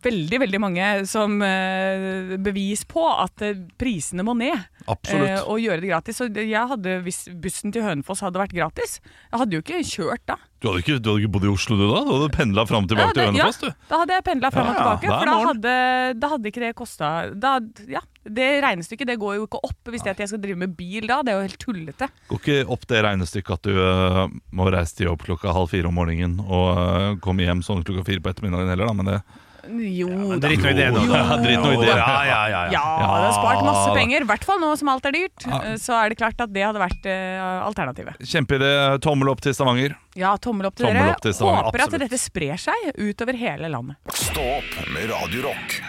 veldig, veldig mange som eh, bevis på at eh, prisene må ned. Absolutt. Eh, og gjøre det gratis. Så det- jeg hadde, hvis bussen til Hønefoss hadde vært gratis, jeg hadde jo ikke kjørt da. Du hadde, ikke, du hadde ikke bodd i Oslo, du da? Du hadde pendla fram og Da tilbake til hadde- Hønefoss, ja, du. Da hadde jeg pendla fram og Ja, ja, tilbake, hver for da morgen. hadde, da hadde ikke det kosta da- Ja, det regnestykket det går jo ikke opp hvis det at jeg skal drive med bil da. Det er jo helt tullete. Går ikke opp det regnestykket at du øh, må reise til jobb klokka halv fire om morgenen og øh, komme hjem sånn klokka fire på ettermiddagen heller, da, men det Jo Men da. drit nå i det, nå. Jo. Ja, drit nå i det. Ja, ja, ja, ja. Ja, det har spart masse da. penger. I hvert fall nå som alt er dyrt. eh, Så er det klart at det hadde vært eh, alternativet. Kjempeidé. Tommel opp til Stavanger. Ja, tommel opp til Tommel dere. opp til Stavanger, Håper at absolutt. dette sprer seg utover hele landet. Stå opp med Radio Rock.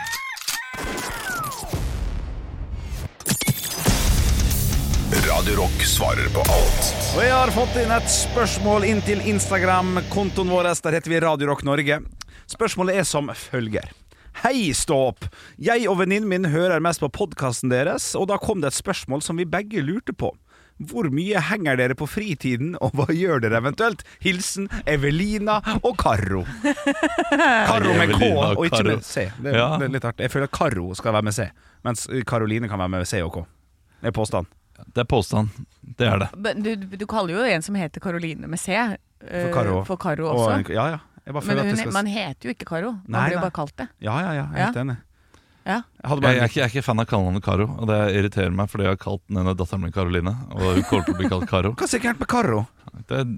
Radio Rock svarer på alt. Og jeg har fått inn et spørsmål inn til Instagram-kontoen vår. Der heter vi Radio Rock Norge. Spørsmålet er som følger. Hei, stå opp! Jeg og venninnen min hører mest på podkasten deres, og da kom det et spørsmål som vi begge lurte på. Hvor mye henger dere på fritiden, og hva gjør dere eventuelt? Hilsen Evelina og Karo. Karo med K Evelina og og ikke Karo. med C. Det er, Ja. det er litt artig. Jeg føler Karo skal være med C, mens Karoline kan være med C og K. Det er påstand. Det er påstand. Det er det. Men Du, du kaller jo en som heter Karoline med C, eh, For Karo. for Karo Og- også. Ja, ja. Jeg bare Men føler at det hun, skal man heter jo ikke Karo. Man Nei, blir jo nei. bare kalt det. Ja, ja, ja, jeg er helt enig. Ja. Jeg hadde Jeg, bare jeg, er ikke, jeg er ikke fan av kallenavnet Karo, og det irriterer meg fordi jeg har kalt den ene datteren min Karoline, og hun kommer til å bli kalt Karo. Hva er gærent med Karo? Det er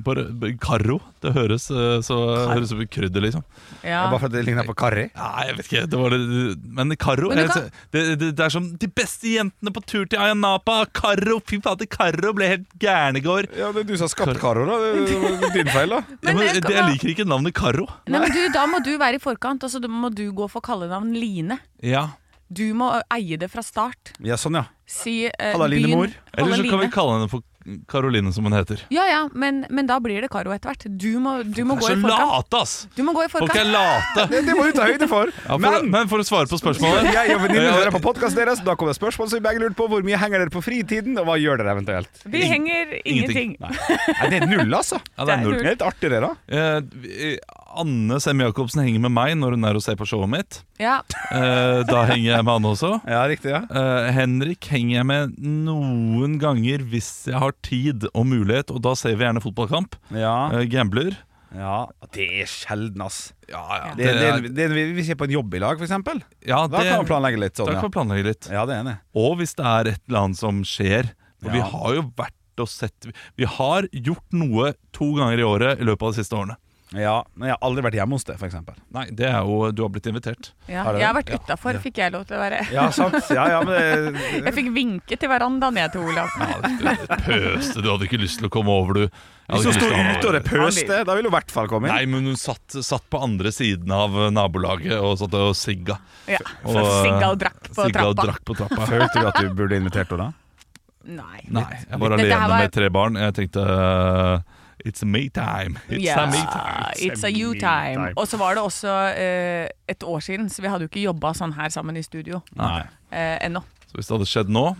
bare, bare Karo. Det høres eh, så høres ut som krydder, liksom. Ja. Bare fordi det ligner på karri? Nei, jeg vet ikke. Det var det, men Karo Men du jeg- kan- det, det, det er som de beste jentene på tur til Ayanapa. Karo! Fy fader, Karo ble helt gæren i går. Ja, det er du som har skapt Karo, da. Det er din feil, da. Ja, men, jeg jeg, kan- jeg liker ikke navnet Karo. Nei, men du, da må du være i forkant, og så må du gå for kallenavn Line. Ja. Du må eie det fra start. Ja, sånn, ja. Si eh, Halla, Line byen- Mor. Eller Halla, så kan vi Line. kalle henne for Karoline, som hun heter. Ja ja, men, men da blir det Karo etter hvert. Du må, du må gå Så i forkant. late, ass! Du må gå i Folk er forkant. late. Det, det må du ta høyde for. Ja, for, men, Men for å svare på spørsmålet jeg og venninnen hører på podkasten deres. Da kommer det spørsmål som vi begge lurte på. Hvor mye henger dere på fritiden, og hva gjør dere eventuelt? Vi henger ingenting. Nei. Nei, det er null, altså. Ja, det er null. Det er litt artig, det, da. Eh, vi- Anne Sem-Jacobsen henger med meg når hun er og ser på showet mitt. Ja. Eh, da henger jeg med Anne også. Ja, riktig, ja. Eh, Henrik henger jeg med noen ganger hvis jeg har tid og mulighet, og da ser vi gjerne fotballkamp. Ja, Eh, gambler. ja. Det er sjelden, ass. Ja, ja. Det, det, er- det, det, hvis jeg er på en jobb i lag, for eksempel, ja, da kan man det, planlegge litt da sånn, kan ja. man planlegge litt. Ja, det er enig. Og hvis det er et eller annet som skjer. For vi Ja. har jo vært og sett Vi har gjort noe to ganger i året i løpet av de siste årene. Ja, men jeg har aldri vært hjemme hos deg, for eksempel. Nei, det er jo Du har blitt invitert. ja. Har dere- Jeg har vært utafor, fikk jeg lov til å være. Ja, sant. Ja, ja, men det, Jeg fikk vinke til verandaen, jeg til Olav. Ja, du pøste, du hadde ikke lyst til å komme over, du. Jeg hadde Hvis hun ikke lyst sto til å ha- ute og det pøste, da ville hun i hvert fall komme inn. Nei, men hun satt, satt på andre siden av nabolaget og satt og sigga. Ja. Og, Så sigga og drakk på sigga og trappa. drakk på trappa. Følte du at du burde invitert henne da? Nei. Nei, jeg var Dette her alene var- med tre barn. Jeg tenkte uh, It's me time. It's Ja, a me time. Ah, It's a you time. Og så var det også eh, et år siden, så vi hadde jo ikke jobba sånn her sammen i studio Nei. eh, ennå. Så hvis det hadde skjedd nå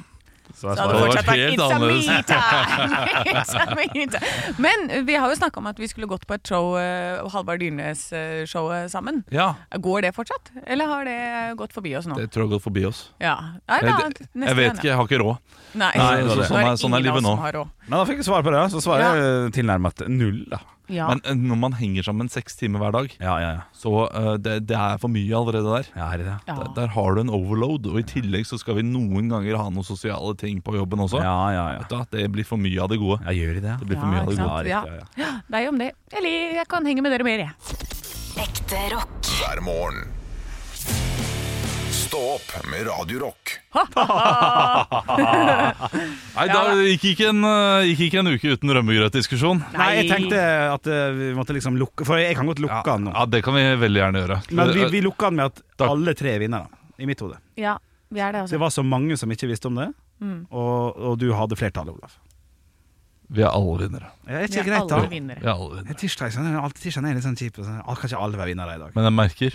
Så hadde det det hadde fortsatt vært vært helt It's a me annerledes. time! It's a me time. Men vi har jo snakka om at vi skulle gått på et show, eh, Halvard Dyrnes-showet sammen. Ja, Går det fortsatt, eller har det gått forbi oss nå? det tror jeg har gått forbi oss. Ja. Nei, da, Jeg, neste jeg vet gang, ikke, jeg har ikke ja. råd. Nei, Nei, så, så- nå sånn er er- det sånn er ingen av livet oss nå. som har råd. Men da fikk jeg svar på det, så svarer Ja. jeg tilnærmet null, da. Ja. Men eh, når man henger sammen seks timer hver dag, Ja, ja, ja. så eh, det, det er for mye allerede der. Ja, her er det. ja. Der, der har du en overload, og i tillegg så skal vi noen ganger ha noen sosiale ting på jobben også. Ja, ja, ja. Vet du hva, det blir for mye av det gode. Ja, gjør de det? Det blir for mye av det ikke gode. sant? Ja, Ja, riktig, Deg om det. Eller jeg kan henge med dere mer, jeg. Ekte rock. hver morgen. Stå opp med Radio Rock. Nei, da gikk ikke en, eh, gikk ikke en uke uten rømmegrøtdiskusjon. Nei, jeg tenkte at eh, vi måtte liksom lukke For jeg kan godt lukke den nå. Ja, det kan vi veldig gjerne gjøre. Men vi, vi lukker den med at Takk. alle tre er vinnere, i mitt hode. Ja, vi er det, altså. Det var så mange som ikke visste om det, og, og du hadde flertallet, Olav. Vi er alle vinnere. Ja, er Vi ikke er greit, alle da? vinnere. Vi er alle vinnere. Ja, Tirsdag sånn, er- alltid tirsdagen er litt sånn kjip. og Sånn. ah, Kan ikke alle være vinnere i dag? Men jeg merker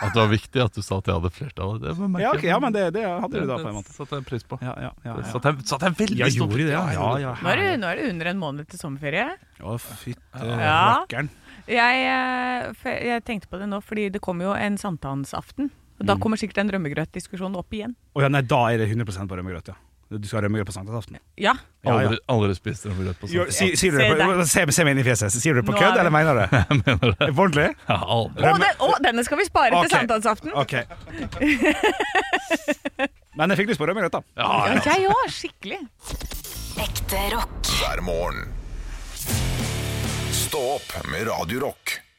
at det var viktig at du sa at jeg hadde flertallet. Det merker Ja, jeg. ok, ja men det, det hadde Det- du da, det på en måte. satte jeg pris på. Ja, ja, ja, Det ja. Satte jeg, satte jeg veldig Ja, stor gjorde de det? Ja, ja, ja. Nå er, det, nå er det under en måned til sommerferie. Å, fytte Ja. rakkeren. Jeg, eh, fe- jeg tenkte på det nå, fordi det kommer jo en sankthansaften. Og Mm. Da kommer sikkert den rømmegrøtdiskusjonen opp igjen. Å ja, nei, da er det 100 på rømmegrøt, ja. Du skal ha rømmegrøt på Sånn. sankthansaften? Ja. Ja, ja. Aldri, aldri spist rømmegrøt på Gjør- sånt. si- Sier du Se det på, deg. se, se meg inn i fjeset. Sier du det på Nå kødd, er eller det- mener du det? Mener du det? På ordentlig? Ja, aldri. Å, den, å, denne skal vi spare Ok. til sankthansaften! Ok. Men jeg fikk lyst på rømmegrøt, da. Ja, ja. Jeg òg, skikkelig. Ekte rock. hver morgen. Stå opp med Radio Rock.